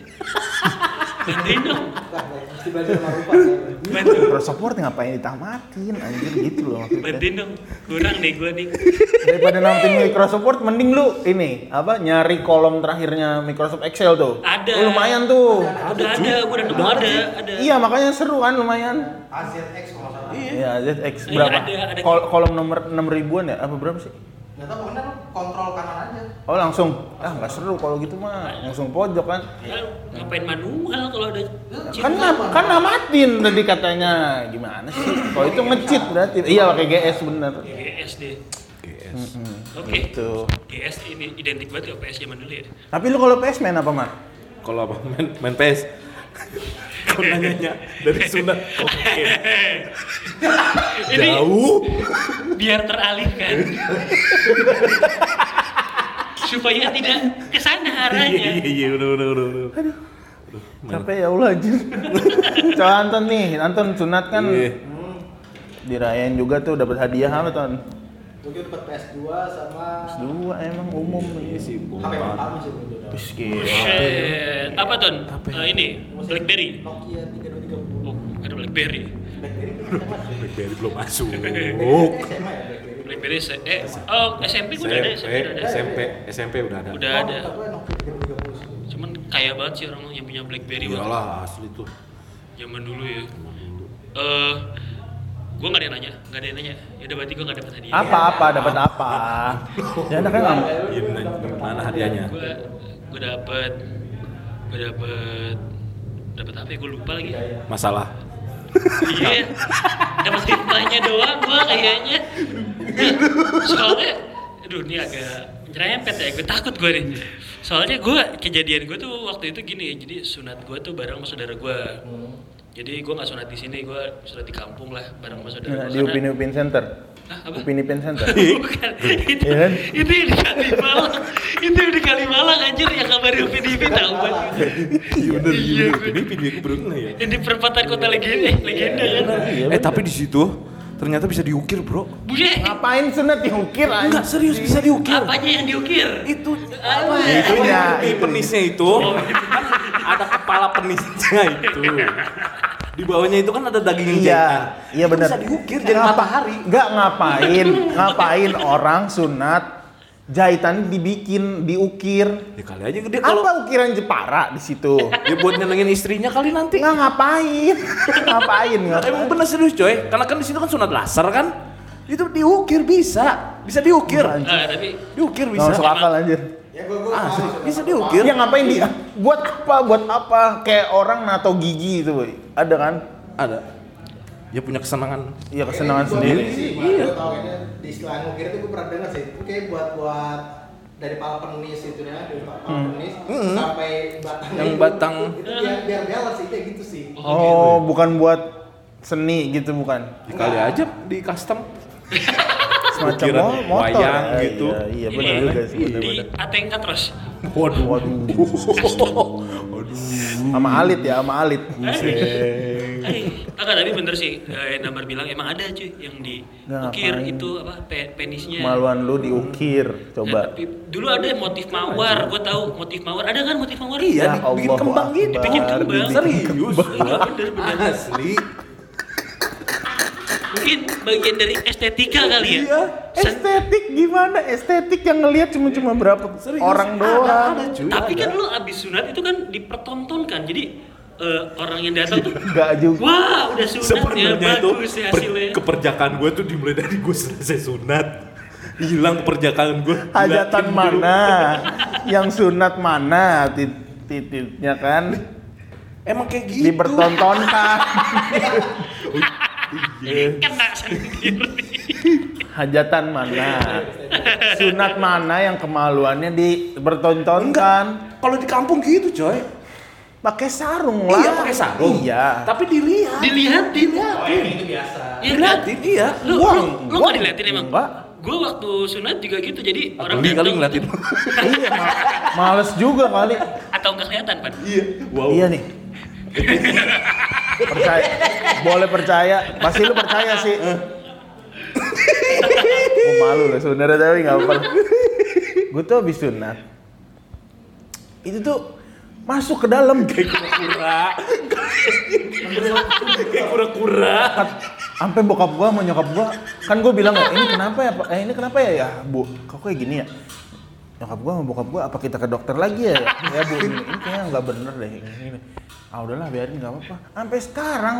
S3: gue
S1: ditamatin?
S3: ya bantuin dong
S4: Nah, nah, mesti belajar sama rupa. saya.
S3: bantu
S1: Microsoft Word ngapain ditamatin? Anjir gitu loh maksudnya.
S3: bantuin dong kurang deh gue nih
S1: Daripada namatin Microsoft Word, mending lu ini apa nyari kolom terakhirnya Microsoft Excel tuh.
S3: Ada.
S1: Oh, lumayan tuh.
S3: udah ada gue udah nemu ada ada
S1: Iya makanya seru kan lumayan.
S4: AZX kalau salah.
S1: Iya ZX
S3: Iya,
S1: berapa?
S3: ada, ada.
S1: Kol- kolom nomor 6 ribuan ya? Apa berapa sih?
S4: Nggak tahu pokoknya lu kontrol kanan aja.
S1: Oh langsung. Ah nggak seru kalau gitu mah langsung pojok kan.
S3: Ya, ngapain manual kalau ada
S1: Kan na- kan namatin tadi katanya gimana sih? Kalau itu ngecit berarti. Iya pakai GS bener.
S3: GS deh
S2: GS.
S3: oke
S1: Gitu.
S3: GS ini identik banget ya PS zaman dulu ya
S1: Tapi lu kalau PS main apa mah?
S2: Kalau abang main, main PS. Kau nanyanya dari Sunda. Oke.
S3: [laughs] ini
S2: Jauh.
S3: biar teralihkan [laughs] supaya tidak kesana
S2: Iya
S3: arahnya
S2: iya iya udah udah udah. udah.
S1: Capek ya Allah anjir. [laughs] Coba Anton nih, Anton sunat kan
S2: Iya.
S1: dirayain juga tuh dapat hadiah apa Ton?
S4: Gue gitu dapat PS2 sama
S1: Dua emang umum
S2: Iya sih gua
S3: ya,
S4: HP
S2: banget.
S4: pertama sih gue dapet.
S1: Terus gitu. gila.
S3: Buset. apa ton
S2: ya?
S3: Eh, ini BlackBerry
S4: Nokia 3230.
S3: oh ada BlackBerry
S4: BlackBerry belum masuk.
S2: BlackBerry belum masuk. Oh.
S4: BlackBerry SMA ya
S3: BlackBerry se-
S4: BlackBerry.
S3: eh oh SMP gue udah ada SMP
S2: SMP,
S3: udah ada
S2: SMP, SMP udah ada.
S3: udah ada
S4: Gue ya Nokia 3230 sih.
S3: cuman kaya banget sih orang yang punya BlackBerry waktu
S2: Iyalah asli tuh.
S3: zaman dulu ya eh gue nggak ada yang nanya nggak ada yang nanya ya udah berarti gue nggak dapat hadiah
S1: Apa apa dapat
S3: [laughs]
S1: apa? Ya ada kan nggak-
S2: Iya nanya mana hadiahnya?
S1: Ya.
S3: gue gue dapet gue dapet dapat apa ya gue lupa lagi
S2: Masalah.
S3: iya dapat hikmahnya doang gue kayaknya soalnya aduh ini agak nyerempet ya gue takut gue nih soalnya gue kejadian gue tuh waktu itu gini ya. jadi sunat gue tuh bareng sama saudara gue
S1: Hmm.
S3: jadi gue nggak sunat di sini gue sunat di kampung lah bareng sama saudara
S1: Nah, di
S3: gue
S1: Upin Upin Center.
S3: Hah, apa?
S1: Upin Upin Center.
S3: [laughs] Bukan, itu,
S1: [laughs] Iya kan?
S3: itu yang di Kalimalang Itu yang di Kalimalang anjir yang kabarin Upin Ipin tau banget
S2: Iya bener.
S3: Iya,
S2: bener. Ini video beruntung ya.
S3: Yang di perempatan kota legenda, legenda kan
S1: Iya,
S2: Eh
S1: bener.
S2: tapi di situ ternyata bisa diukir bro.
S3: Buye,
S1: ngapain sunat diukir
S2: Enggak
S1: anjir?
S2: serius bisa diukir. Iya,
S3: apanya yang diukir?
S2: Itu ya?
S3: Apa?
S1: Itunya.
S2: di penisnya itu kan ada kepala penisnya itu. Di bawahnya itu kan ada
S1: Iya,
S2: daging jahitan.
S1: iya
S2: Itu
S1: benar.
S2: Bisa diukir jadi matahari.
S1: Enggak ngapain, ngapain orang sunat jahitan dibikin, diukir.
S2: Ya kali aja gede kalau
S1: Apa ukiran Jepara di
S2: [laughs]
S1: situ?
S2: dia buat nyenengin istrinya kali nanti.
S1: Nggak ngapain, [laughs] ngapain nggak?
S2: Emang bener serius coy, karena kan di situ kan sunat laser kan. Itu diukir bisa, bisa diukir.
S3: Ah, tapi
S2: Diukir
S1: Nggak
S2: bisa.
S1: masuk akal anjir.
S4: Ya gue gue
S2: Asli, bisa diukir.
S1: Ya ngapain di? Buat apa? Buat apa? Kayak orang nato gigi itu, boy. Ada kan?
S2: Ada. Dia punya kesenangan.
S1: Iya kesenangan sendiri.
S4: Iya. Gue tau kayaknya di istilah ngukir itu gue pernah dengar sih. Itu kayak buat buat dari pala penis itu ya, dari pala penis sampai batang.
S2: Yang
S4: itu.
S2: batang.
S4: Itu biar biar balance sih kayak gitu sih.
S2: Iya,
S1: Oh, bukan buat seni gitu bukan?
S2: Ya kali aja di custom.
S1: Semacam
S2: Ukiran
S1: mo- motor.
S2: wayang
S1: ya?
S2: gitu.
S1: Iya, iya
S3: Ini
S1: benar
S3: ya,
S1: juga sih.
S2: di-
S1: benar-benar.
S3: di Ateng Katros
S2: Waduh.
S1: Waduh. Sama alit ya, sama alit.
S2: Iya.
S3: Eh, enggak, tapi bener sih eh, Namar bilang emang ada cuy yang diukir
S1: Ngapain?
S3: itu apa pe- penisnya
S1: Maluan lu diukir,
S3: Nah,
S1: coba.
S3: tapi dulu ada motif mawar, gue tahu motif mawar ada kan motif mawar?
S2: Iya,
S1: Ya
S2: di- bikin
S1: Allahu
S2: kembang gitu.
S1: Akbar,
S3: Bikin kembang.
S1: dibikin
S2: Serius.
S3: Iya,
S2: gua.
S3: bener, bener.
S2: Asli.
S3: Mungkin bagian dari estetika kali ya.
S2: Iya,
S3: Sen-
S1: Estetik gimana? Estetik yang ngelihat cuma cuma berapa
S2: Serius.
S1: orang
S2: ada,
S1: doang.
S2: Ada, cuy.
S3: Tapi
S2: ada.
S3: kan lu abis sunat itu kan dipertontonkan. Jadi eh, orang yang datang tuh
S1: Enggak juga.
S3: Wah, udah sunat ya,
S2: sebenarnya itu
S3: bagus ya
S2: per-
S3: hasilnya.
S2: keperjakaan gue tuh dimulai dari gue selesai sunat hilang keperjakaan gue
S1: Hajatan mana? yang sunat mana? Tit- Titiknya kan
S2: emang kayak Nah, gitu
S1: dipertontonkan.
S3: Kena
S2: [laughs]
S3: sendiri.
S1: Hajatan mana? Sunat mana yang kemaluannya dipertontonkan?
S2: kalau di kampung gitu coy
S1: Pakai sarung lah.
S2: iya pakai sarung
S1: Iya.
S2: tapi dilihat
S3: Dilihatin.
S4: Oh, yang itu biasa.
S3: Iya kan?
S2: dilihatin iya
S3: Lu,
S1: Gua-
S3: lu, lu
S1: gua
S3: gak diliatin emang?
S1: enggak.
S3: Gue waktu sunat juga gitu, jadi orang
S2: Beli kali
S3: ganteng
S2: ngeliatin
S1: iya, ma- males juga kali.
S3: Atau nggak kelihatan, Pan?
S2: iya wow
S1: Iya nih. percaya, boleh percaya. Pasti lu percaya sih.
S2: Eh.
S1: Gua malu loh sebenarnya tapi nggak apa. Gue tuh habis sunat. Itu tuh masuk ke dalam.
S2: kura-kura kayak kura-kura
S1: sampai bokap gua sama nyokap gua kan gua bilang ya ini kenapa ya Pak? eh ini kenapa ya ya bu kok kayak gini ya nyokap gua sama bokap gua apa kita ke dokter lagi ya ya bu ini, ini kayaknya nggak bener deh ini, ini. ah udahlah biarin nggak apa-apa sampai sekarang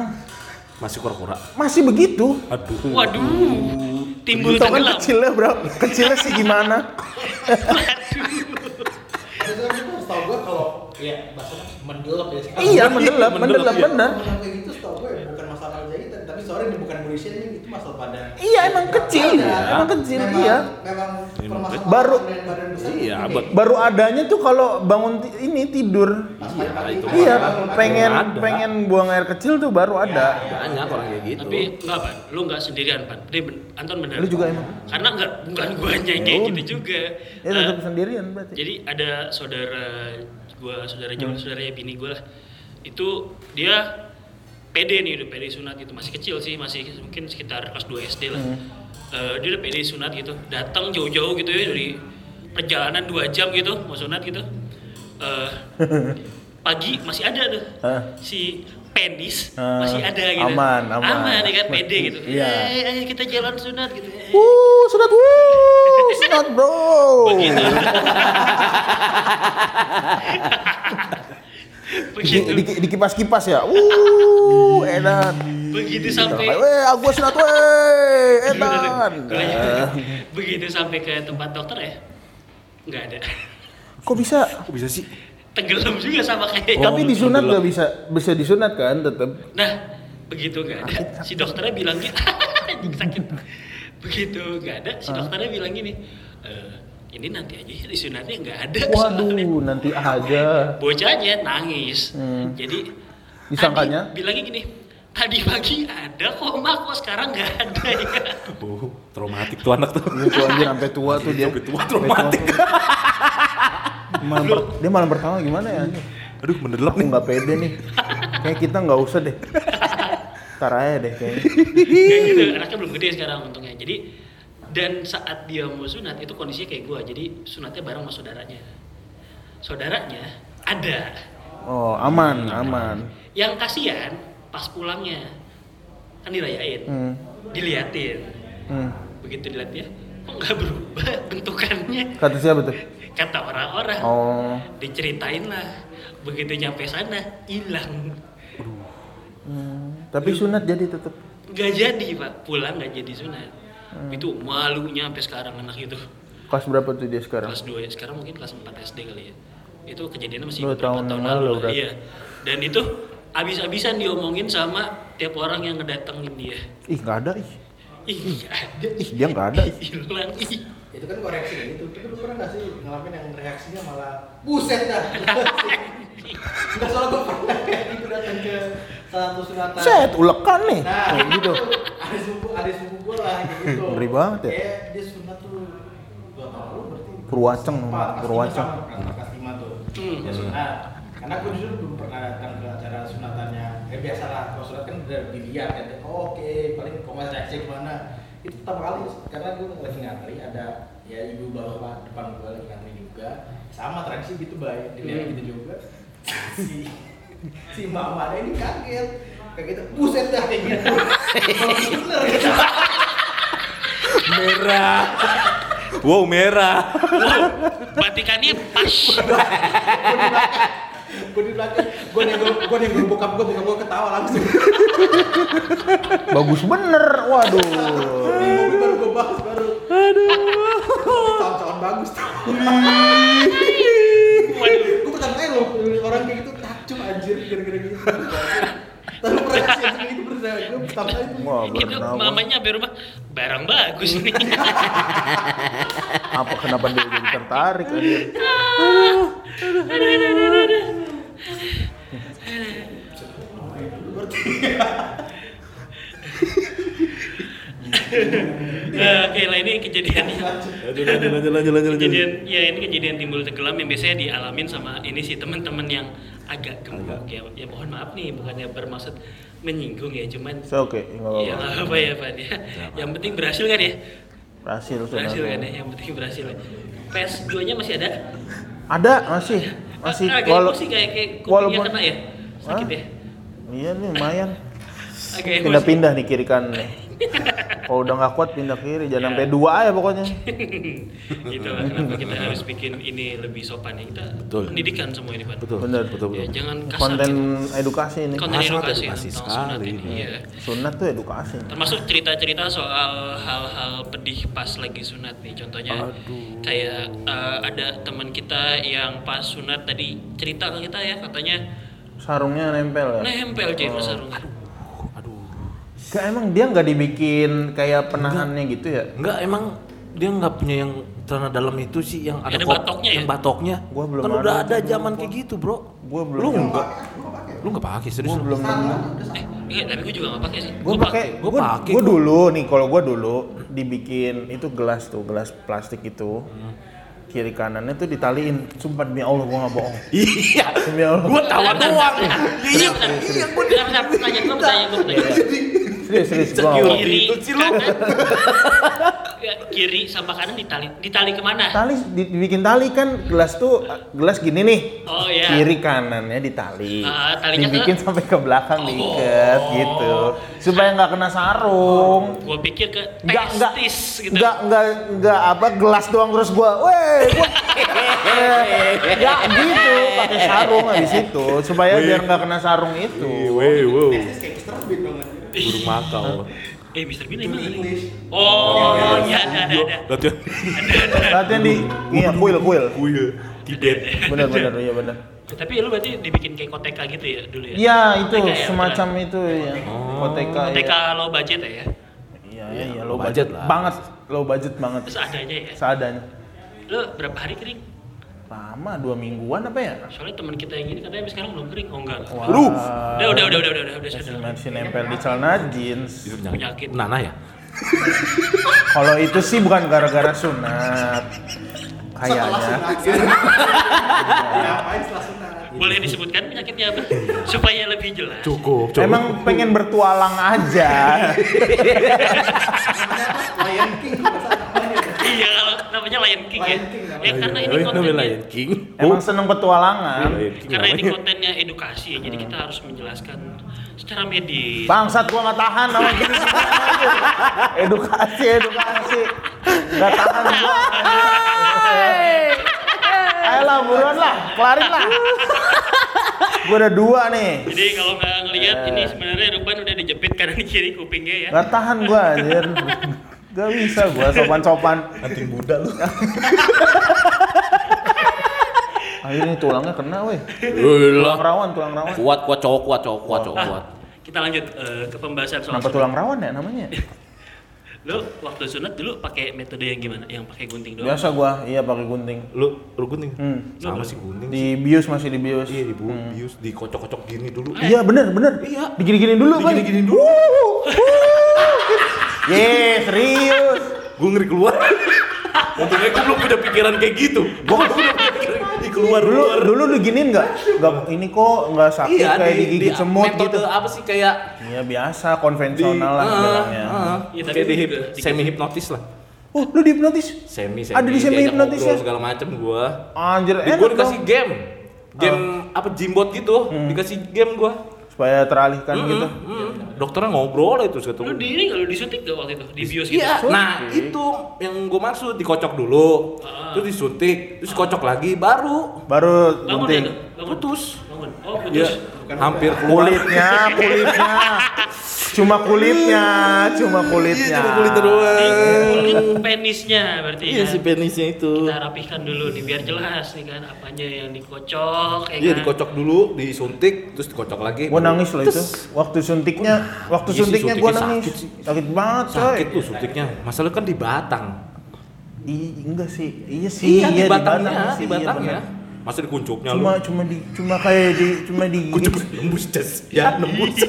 S2: masih kura-kura
S1: masih begitu
S2: aduh
S3: Waduh, timbul
S1: Lu tau kan
S3: tenggelam.
S1: kecilnya bro kecilnya sih gimana
S4: Terus kan itu setahu gue kalau ya bahasanya mendelep ya.
S1: iya mendelep mendelep
S2: Mendelep, iya.
S1: bener
S4: Kalau kayak gitu setahu gue bukan masalah jahitan, tapi sorry ini bukan bullshit ini itu masalah badan.
S1: iya emang kecil
S4: Iya.
S1: emang kecil
S4: memang,
S1: iya
S4: Memang permasalahan
S1: Baru-
S4: badan badan besar.
S2: Iya,
S4: ini.
S2: buat-
S1: baru adanya tuh kalau bangun ti- ini tidur
S2: iya itu
S1: iya
S2: mah.
S1: pengen
S2: Ada.
S1: pengen buang air kecil tuh baru ada
S2: banyak orang kayak gitu
S3: Tapi enggak, Pan. Lu enggak sendirian, Pan. Ini ben- Anton bener.
S1: lu juga emang
S3: Karena enggak, bukan gua aja yang kayak
S1: Ya
S3: gitu
S1: udah.
S3: juga.
S1: Ya
S3: Nah,
S1: tetap sendirian berarti. Hmm.
S3: jadi ada saudara gua, saudara jauh, saudaranya bini gua lah. Itu dia pede nih udah pede sunat gitu. Masih kecil sih, masih mungkin sekitar kelas 2 SD
S1: Hmm.
S3: lah. Eh, dia udah pede sunat gitu. Datang jauh-jauh gitu ya dari perjalanan 2 jam gitu mau sunat gitu.
S1: [laughs]
S3: Eh, pagi masih ada tuh
S1: Hah?
S3: si penis
S1: Ah,
S3: masih ada gitu
S1: aman, aman.
S3: aman ya kan pede gitu
S1: Iya.
S3: "Eh, ayo kita jalan sunat gitu Eh,
S1: Wuh, sunat wuh, sunat bro.
S3: begitu
S1: Oh. Di,
S3: [laughs] begitu
S1: di, kipas kipas ya, wuh, enak.
S3: begitu
S1: Sampai,
S3: sampai
S1: weh, aku sunat weh,
S2: Iya,
S1: enak.
S3: [laughs]
S1: Nah.
S3: begitu sampai ke tempat dokter ya nggak ada [laughs]
S1: Kok bisa?
S2: kok bisa sih
S3: tenggelam juga sama
S2: Eh,
S3: kayak
S1: Tapi disunat nggak bisa, bisa disunat kan
S2: [laughs]
S1: tetap.
S3: Nah, begitu nggak ada, si dokternya bilang gini, [laughs] anjing sakit. Begitu nggak ada, si dokternya bilang gini, "Eh, ini nanti aja ya, disunatnya nggak
S2: Iya,
S3: ada. soalnya."
S1: Waduh, nanti aja.
S3: Bocahnya nangis.
S1: Hmm.
S3: Jadi
S1: Disangkanya?
S3: tadi bilangnya gini, tadi pagi ada kok mak kok sekarang nggak ada
S1: [laughs]
S3: ya.
S2: oh traumatik tuh anak tuh
S1: Iya tuh anjir sampai tua tuh dia.
S2: Sampai tua, traumatik.
S1: Malam per- dia malam pertama gimana ya? anjir?
S2: aduh mendelep
S1: Aku
S2: nih
S1: nggak pede nih. Kayak kita nggak usah deh. Ntar aja deh kayaknya.
S3: Kayak gitu, anaknya belum gede sekarang untungnya. Jadi dan saat dia mau sunat itu kondisinya kayak gua, jadi sunatnya bareng sama saudaranya. Saudaranya ada.
S1: Oh, aman, aman.
S3: Yang kasihan pas pulangnya kan dirayain,
S1: Hmm.
S3: diliatin.
S1: Hmm.
S3: Begitu dilihat ya, kok nggak berubah bentukannya?
S1: Kata siapa tuh?
S3: Kata orang-orang.
S1: Oh,
S3: Diceritain lah. Begitu nyampe sana hilang.
S1: hmm. tapi sunat jadi tetap.
S3: Nggak jadi pak, pulang nggak jadi sunat.
S1: Hmm.
S3: Itu malunya sampai sekarang anak itu.
S1: Kelas berapa tuh dia sekarang?
S3: Kelas 2 ya, sekarang mungkin kelas 4 SD kali ya. Itu kejadiannya masih
S1: Dua
S3: beberapa
S1: tahun yang lalu
S3: lah,
S1: berarti.
S3: Iya. Dan itu abis-abisan diomongin sama tiap orang yang ngedatengin dia. [laughs]
S1: Ih, nggak ada ih.
S3: Iya ada.
S1: Ih, dia nggak ada.
S3: [laughs] hilang ih
S4: Itu kan koreksi gitu. Tapi lu pernah nggak sih ngalamin yang reaksinya malah buset
S1: [laughs]
S4: dah. Enggak soal gue pernah kayak gitu datang ke satu sunatan.
S1: Set, ulekan nih.
S4: Nah,
S1: Kayak gitu.
S4: Ada sepupu, ada sepupu gue lah kayak gitu.
S1: Ngeri banget ya.
S4: Kayak dia sunat tuh dua tahun lalu berarti.
S1: Purwaceng,
S4: Empat, kelas
S1: Purwaceng.
S4: lima sama, kelas- kelas lima tuh.
S3: Hmm.
S4: Dia sunat. Karena gue dulu belum pernah datang ke acara sunatannya. Eh biasa lah, kalau sunat kan udah dilihat kan. Oh, Oke, paling kok nggak cek cek mana. Itu pertama kali karena gue lagi ngantri ada ya ibu bapak depan gue lagi ngantri juga. Sama tradisi gitu baik, dilihat
S3: Hmm.
S4: gitu juga. Si si mama ini kaget kaget buset dah kayak
S3: [laughs]
S4: gitu bener gitu
S2: merah [laughs] wow merah
S3: batikannya pas
S4: gue di belakang gue nenggol gue nenggol bokap gue bokap gue ketawa langsung
S1: Bagus bener. Waduh.
S4: di mobil baru gue bahas baru
S2: aduh
S4: kurang bagus tuh.
S3: Waduh.
S4: Gue pertama kali loh orang kayak gitu takjub anjir gara-gara gitu. Tapi pernah sih anjing itu pernah. Gue pertama kali tuh.
S1: Wah,
S3: Itu
S1: pernah gua.
S3: Gitu. mamanya sampai rumah barang bagus nih. [laughs]
S1: Apa kenapa dia jadi tertarik anjir?
S3: Eh, Oke lah ini kejadian
S2: Lanjut lanjut lanjut lanjut lanjut.
S3: kejadian ya ini kejadian timbul tenggelam yang biasanya dialamin sama ini sih teman-teman yang agak gemuk ya, ya mohon maaf nih bukannya bermaksud menyinggung ya cuman
S1: So, oke, enggak
S2: Oh.
S3: ya
S1: apa-apa.
S3: nggak apa ya Pak ya yang penting berhasil kan ya
S1: Berhasil sudah.
S3: berhasil kan ya yang penting berhasil PS 2 nya masih ada
S1: Ada masih masih
S3: Ah, agak
S1: walau
S3: emosi kayak kayak kupingnya
S1: walaupun-
S3: kena ya sakit
S1: Hah?
S3: ya
S1: iya nih lumayan.
S3: agak emosi.
S1: Pindah-pindah nih kiri kanan nih. Kalau udah nggak kuat pindah kiri,
S3: Iya.
S1: jangan sampai dua ya pokoknya.
S3: gitu lah kenapa kita harus bikin ini lebih sopan ya kita
S2: Betul.
S3: pendidikan semua ini Pak
S2: Betul.
S1: Bener.
S2: Betul
S3: ya,
S2: betul.
S3: jangan kasar
S1: Konten
S3: gitu.
S1: edukasi ini.
S3: konten
S2: Masa
S3: edukasi,
S2: edukasi
S3: tentang sunat
S2: sekali
S3: ini
S2: ini.
S3: iya.
S1: Sunat tuh edukasi.
S3: termasuk cerita-cerita soal hal-hal pedih pas lagi sunat nih contohnya kayak eh, ada teman kita yang pas sunat tadi cerita ke kita ya katanya
S1: Sarungnya nempel ya.
S3: nempel jadi sarung
S2: Oh. Aduh.
S1: Gak emang dia nggak dibikin kayak penahannya gitu ya?
S2: Enggak emang dia nggak punya yang celana dalam itu sih yang ada,
S3: Ada
S2: kop-
S3: batoknya
S2: yang
S3: ya?
S2: batoknya.
S1: Gua belum
S2: kan
S1: ada
S2: udah
S1: tuh,
S2: ada zaman kayak gitu, Bro.
S1: Gua belum.
S2: Lu enggak. Lu enggak pakai serius.
S1: Gue
S2: lu?
S1: belum nemu.
S3: eh iya tapi gue juga gak pakai sih
S1: Gue
S3: Gua
S1: pakai,
S2: gua
S1: gue
S2: pakai
S1: gue
S2: gua.
S1: dulu nih kalau gue dulu dibikin itu gelas tuh gelas plastik itu kiri kanannya tuh ditaliin sumpah demi Allah gue nggak bohong
S2: Iya.
S1: demi Allah
S2: Gua tawa doang. Iya, iya gua
S3: Bentar, bentar, pertanyaan gue, pertanyaan gue, pertanyaan gua.
S1: serius serius gue nggak bohong
S2: Security.
S3: Kiri,
S2: Itu Iya, gitu sih lu.
S3: kanan, Ya, kiri sama kanan ditali, ditali kemana?
S1: tali di- dibikin tali kan gelas tuh gelas gini nih
S3: Oh ya.
S1: kiri kanannya ditali
S3: Ah, talinya
S1: dibikin
S3: ke-
S1: sampai ke belakang diikat gitu supaya nggak kena sarung
S3: Gue pikir ke
S1: nggak nggak
S3: testis gitu.
S1: nggak nggak nggak apa gelas doang terus gua weh gua
S3: [laughs]
S1: ya gitu pakai sarung habis itu supaya biar nggak kena sarung itu
S2: Weh, wow.
S4: Kayak Mr. Bean dong.
S2: Burung makau.
S3: Eh, Mr. Bean
S4: Itu
S3: emang ada?
S4: English.
S3: Oh, iya, ada, ada, ada.
S2: Latihan
S1: latihan di iya kuil kuil
S2: kuil Tibet.
S1: bener bener iya bener
S3: Tapi lu berarti dibikin kayak koteka gitu ya dulu ya?
S1: iya itu
S3: Koteka ya, Oh,
S1: semacam
S3: beneran?
S1: itu ya OTK
S3: Koteka
S1: iya
S3: low budget ya?
S1: iya iya, iya low
S2: Low
S1: budget
S2: budget lah.
S1: banget low budget banget
S3: Terus adanya ya?
S1: seadanya
S3: Lu berapa hari kering?
S1: lama dua mingguan apa ya
S3: Soalnya teman kita yang ini katanya sekarang belum kering. Oh enggak.
S1: Wah,
S2: Lu.
S3: Udah, udah, udah, udah, udah, udah, udah,
S1: masih
S3: udah.
S1: masih nempel di celana jeans
S2: Itu penyakit.
S3: Penyakit.
S2: Nana ya?
S1: Kalau itu sih bukan gara-gara sunat.
S4: Setelah
S1: Kayaknya.
S4: sunat. ya. Ngapain setelah sunat?
S3: Boleh disebutkan penyakitnya
S2: [laughs]
S3: apa? Supaya lebih jelas.
S2: Cukup,
S1: Emang pengen bertualang aja.
S4: Namanya apa? Lion King. bukan salah namanya.
S3: Iya, kalau namanya Lion King ya.
S4: Lion King, namanya.
S3: Ya karena ini
S2: namanya
S3: kontennya
S2: Lion King.
S1: Emang seneng petualangan.
S2: Oh, iya, Lion King
S3: karena ini
S2: namanya. Hmm.
S3: kontennya edukasi ya, jadi kita harus menjelaskan secara medis.
S1: Bangsat gua nggak tahan sama gini semua. Edukasi, edukasi. Nggak tahan gua. Ayolah buruan lah, kelarin lah. Gua ada dua nih.
S3: Jadi kalau nggak ngelihat ini
S2: Eh.
S3: sebenarnya Ruban udah dijepit kanan [laughs] kiri kupingnya ya.
S1: Nggak tahan gua anjir. Gak bisa gua sopan-sopan.
S2: Anting Buddha lu.
S1: Akhirnya tulangnya kena weh. Tulang
S2: Ulah.
S1: rawan, tulang rawan.
S2: Kuat, kuat, cowok, kuat, cowok, kuat, cowok, kuat.
S3: Kita lanjut eh, ke pembahasan soal
S1: Kenapa tulang rawan ya namanya?
S3: Lu waktu sunat dulu pakai metode yang gimana? Yang pakai gunting
S2: Ya,
S3: doang.
S1: Biasa gua, iya pakai gunting.
S2: Lu, lu gunting?
S1: Hmm.
S2: Sama sih gunting.
S1: Di bius masih di bius.
S2: Iya, di
S1: Hmm.
S2: bius, dikocok-kocok gini dulu.
S1: Iya bener bener.
S2: Iya.
S1: Digini-gini dulu kan.
S2: Digini-giniin dulu.
S1: Wuh, wuh. Ye serius.
S2: Gue ngeri keluar. [laughs] Untungnya gue belum punya pikiran kayak gitu. Gue belum punya pikiran di keluar
S1: Dulu
S2: keluar.
S1: dulu diginiin nggak? Nggak ini kok nggak sakit
S2: Iya,
S1: kayak digigit semut
S2: metode
S1: gitu.
S2: apa sih kayak
S1: Iya biasa konvensional lah
S2: eh,
S1: bilangnya.
S2: eh,
S3: Iya, tapi
S2: kayak di hip,
S3: juga dikit.
S2: semi hipnotis lah.
S1: Oh lu dihipnotis?
S2: Semi semi.
S1: Ada di semi
S2: diajak
S1: hipnotis
S2: ngobrol
S1: ya?
S2: segala macem gua.
S1: Anjir
S2: Di gua
S1: enak dong. Oh.
S2: dikasih game. Game apa jimbot gitu, dikasih game gua.
S1: Supaya teralihkan gitu.
S2: Mm, mm. Dokternya ngobrol itu satu.
S3: Lu di ini nggak lu disuntik nggak waktu itu di bios gitu?
S2: Iya, nah itu yang gue maksud dikocok dulu,
S3: Ah.
S2: terus disuntik, terus kocok lagi, baru
S1: Baru
S3: Bangun ya lu?
S1: gunting.
S3: Bangun.
S2: putus.
S1: Iya,
S3: Bangun. Oh,
S2: Ya,
S3: putus.
S2: hampir keluar. [laughs]
S1: Kulitnya, kulitnya. Cuma kulitnya, cuma
S2: Iya,
S1: kulitnya.
S5: Cuma kulit
S2: Eh.
S5: doang.
S3: Kulit penisnya berarti
S5: Iya
S3: kan?
S5: si penisnya itu.
S3: Kita rapihkan dulu nih biar jelas nih kan apanya yang dikocok ya
S2: Iya
S3: kan?
S2: dikocok dulu, disuntik, terus dikocok lagi.
S1: Gue nangis loh itu. Waktu suntiknya, waktu
S2: Iya sih,
S1: suntiknya gue
S2: suntiknya
S1: nangis.
S2: sakit sih.
S1: Sakit banget coy.
S2: Sakit tuh suntiknya. Masalah kan di batang.
S1: Ih, enggak sih. Iya sih, iya, di batang
S2: batangnya,
S1: sih,
S2: di
S1: iya
S2: batangnya.
S1: bener.
S2: Masa di kuncupnya
S1: Cuma
S2: lu.
S1: cuma di cuma kayak di cuma di
S2: Kuncup nembus Jess.
S1: Iya.
S2: Ya
S1: [laughs]
S2: nembus.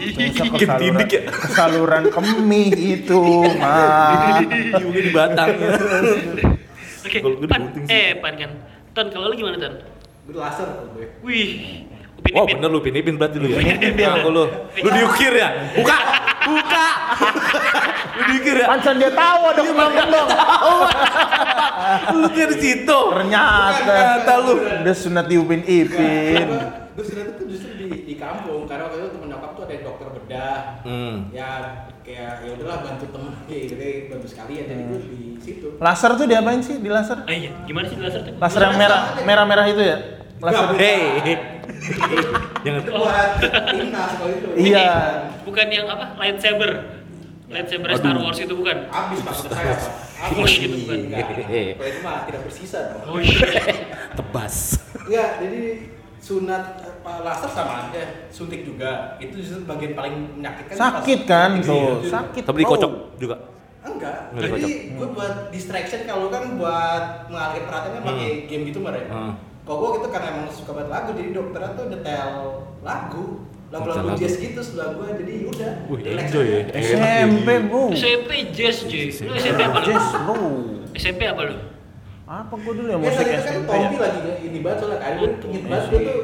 S2: Gigit
S1: kesaluran,
S2: tindik ya.
S1: kesaluran kemih itu mah
S2: Iya. Juga di batangnya.
S3: Oke,
S2: Kalau gue
S3: pan,
S2: digunting sih.
S3: eh pan kan. Ton kalau lu gimana ton?
S4: Gue laser kalau gue.
S3: Wih, upin
S2: Wow
S3: ipin.
S2: bener lu pinipin berarti lu ya. Ngaku lu. Lu diukir ya? Buka! Buka! Lu diukir ya?
S1: pancan dia tahu dong bang dong
S2: Lu tuh di situ.
S1: ternyata
S2: Ternyata lu.
S1: udah sunat diupin ipin
S4: Gue sunat itu justru di, di kampung karena waktu itu temen nyokap tuh ada yang dokter bedah.
S2: Hmm.
S4: Ya kayak ya udahlah bantu temen ya, gitu bantu sekalian jadi gue di situ.
S1: laser tuh diapain sih di laser
S3: Ah, iya, gimana sih laser tuh?
S1: laser yang merah merah merah itu ya laser
S2: Hei. [laughs] Jangan.
S4: Buat timnas kalau itu.
S3: Ini,
S1: Iya.
S3: Bukan yang apa? Lightsaber. Lightsaber Star Wars itu bukan.
S4: Abis maksud saya apa?
S3: Push gitu bukan.
S2: Hehehe.
S4: Kalau itu mah tidak bersisa dong.
S3: Oh [laughs] iya.
S2: Tebas.
S4: Enggak, Ya, jadi sunat apa, laser sama aja, suntik juga. Itu justru bagian paling menyakitkan.
S1: sakit
S4: pas-
S1: kan
S4: Iya.
S2: Oh,
S1: tuh sakit Oh.
S2: Tapi
S1: bro.
S2: dikocok juga.
S4: Enggak.
S2: Enggak
S4: Jadi
S2: dikocok.
S4: gue buat distraction kalau lu kan buat mengalihkan perhatian kan pakai game gitu meren.
S2: Hmm.
S4: Kalau gue gitu karena emang suka banget lagu, jadi dokternya tuh detail lagu, lagu-lagu
S2: Detail lagu.
S4: jazz gitu sebelah gue, jadi udah.
S2: Wih,
S4: relax
S2: enjoy ya.
S4: aja. Eh,
S1: SMP
S4: Iya,
S1: bro
S3: SMP Jazz, cuy. Lu SMP apa lu?
S1: jazz bro
S3: SMP apa lu?
S1: apa gua dulu ya
S4: Ya
S1: musik
S4: tadi itu
S1: SMP
S4: kan
S1: ya
S4: Tompi lagi ini banget soalnya kan gue inget banget gue tuh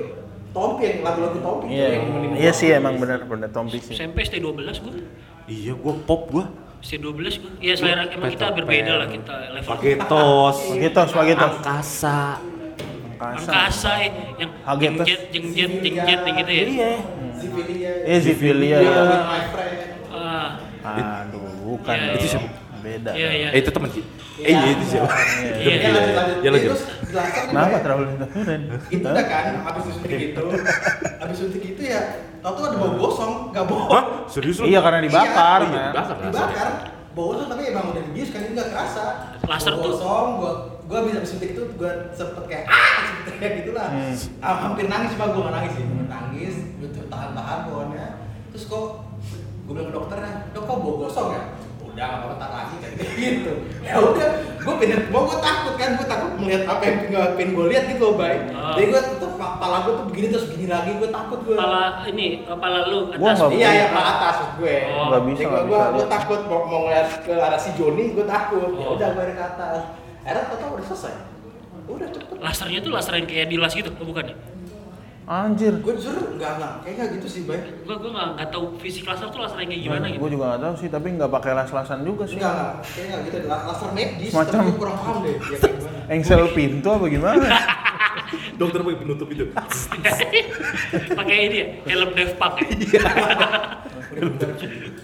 S4: Tompi yang lagu-lagu Tompi tuh
S1: iya
S4: yang nemenin
S1: iya
S4: gua.
S1: sih emang benar benar tompi sih
S3: SMP ST12 gua.
S2: Iya, gua pop gua.
S3: ST12 gua. Iya, selera emang kita
S2: Peter
S3: berbeda
S2: Pan.
S3: lah kita level.
S2: Pagetos.
S1: Pagetos, pagetos.
S2: Angkasa.
S1: Angkasa.
S3: Angkasa eh, yang
S1: Hagetes.
S3: jengjet jengjet jengjet gitu ya.
S2: Iya.
S4: Zivilia
S1: Eh, Zivilia.
S4: Zivilia with my friend
S3: Ah,
S1: Aduh, bukan.
S3: Iya,
S1: dong.
S2: itu siapa?
S1: Beda.
S3: Iya, iya.
S2: Eh, itu teman kita. Eh, iya itu siapa?
S4: Iya,
S3: Iya.
S4: lanjut lanjut
S2: Iya, lanjut.
S4: Terus jelaskan nih,
S1: Kenapa
S4: Bay.
S1: terlalu lenturan?
S4: Itu udah kan, habis disuntik
S2: [laughs]
S4: itu Habis disuntik itu ya, tau tuh ada bau gosong, gak
S2: Hah?
S4: bohong
S2: Serius lu?
S1: Iya karena dibakar,
S2: Iya,
S1: men.
S2: dibakar rasanya.
S4: Dibakar, bau gosong tapi emang udah dibius kan, jadi gak kerasa
S3: Laser
S4: Bau
S3: tuh.
S4: gosong, gue gue bisa disuntik itu gue sempet kayak ah sebenernya gitu lah Ah, hampir nangis cuma gue gak nangis sih nangis gue tuh tahan-tahan bauannya terus kok gue bilang ke dokternya dok kok bau gosong ya udah gak apa-apa tar lagi kan gitu ya udah gue pindah gue gue takut kan gue takut melihat apa yang pengen gue lihat gitu loh baik
S3: Ah.
S4: jadi gue tuh kepala gue tuh begini terus begini lagi gue takut gue
S3: kepala ini kepala lu
S1: Gua
S3: atas.
S1: nggak
S4: Iya, iya, ke atas maksud gue.
S3: Oh.
S1: Nggak bisa,
S4: Jadi
S1: nggak
S4: Iya,
S1: bisa.
S4: gua,
S1: ya.
S4: gua, gua takut mau, mau ngeliat ke arah si Joni, gua takut. Ya
S3: Oh.
S4: udah gua naik ke atas. Akhirnya total udah selesai. Udah cepet.
S3: Lasernya tuh laser yang kayak dilas gitu, oh, bukan ya?
S1: Anjir.
S4: Gua jujur enggak enggak, kayaknya gitu sih, Bay.
S3: Gua gua nggak nggak tahu fisik laser tuh laser yang kayak gimana gitu. [laughs]
S1: Gue juga nggak tahu sih, tapi nggak pakai las-lasan juga sih.
S4: Enggak enggak, kayaknya nggak gitu. La- Laser medis,
S1: Semacam-
S4: tapi gua kurang paham deh. Ya, kayak gimana.
S1: Engsel pintu apa gimana?
S3: [laughs]
S2: Dokter pakai penutup itu.
S3: Pakai ini ya, helm Dev Park.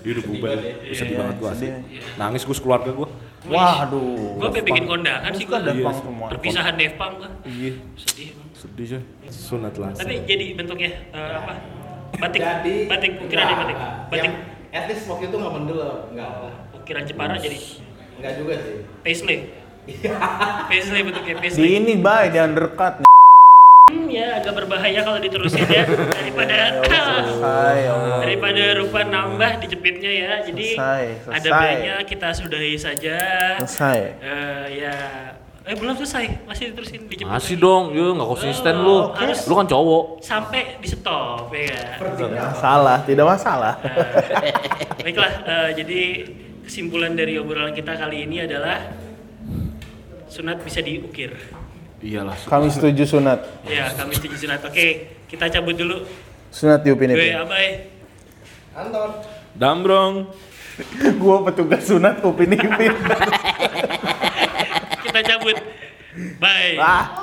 S2: Iya udah bubar.
S4: Iya,
S2: Sedih
S1: iya,
S2: banget gua asli.
S1: sedih.
S2: Nangis gua sekeluarga gua.
S1: Wah, aduh.
S3: Gua pengen bikin kondangan sih
S1: Bukan
S3: gua.
S1: Dev Punk
S3: Iya.
S1: semua.
S3: Perpisahan Dev Punk gua.
S2: Iya,
S3: Sedih. emang.
S2: sedih sih. Sunat lah.
S3: Tapi jadi bentuknya eh, apa? Batik.
S4: Jadi,
S3: batik
S2: nah,
S3: ukiran ya
S4: enggak,
S3: batik.
S4: enggak.
S3: Batik
S4: Yang, at least waktu itu enggak mendel, enggak lah.
S3: ukiran Jepara jadi
S4: Enggak juga sih.
S3: paisley.
S2: Iya.
S3: paisley bentuknya
S1: Di
S3: paisley.
S1: ini bay, di undercut.
S3: Hmm, ya agak berbahaya kalau diterusin ya
S1: [laughs]
S3: daripada
S1: Selesai, ya Allah.
S3: daripada rupa nambah dijepitnya ya. Jadi
S1: Selesai,
S3: ada
S1: selesai.
S3: baiknya kita sudahi saja.
S1: Selesai.
S3: Eh, ya eh belum selesai masih diterusin dijepit.
S2: Masih
S3: lagi.
S2: dong, yo nggak konsisten lu.
S3: Oke.
S2: Lu kan cowok.
S3: sampai di stop ya. kan?
S1: [laughs]
S4: Sepertinya apa?
S1: Salah, tidak masalah.
S3: Eh, baiklah, eh, jadi kesimpulan dari obrolan kita kali ini adalah sunat bisa diukir.
S2: Iyalah.
S1: Kami setuju sunat.
S3: Ya, kami setuju sunat. Oke, kita cabut dulu.
S1: Sunat diupin
S3: Gue
S1: itu.
S3: Abai.
S4: Anton.
S2: Dambrong.
S1: Gue petugas sunat upin ipin.
S3: Kita cabut. Bye.
S1: Ah.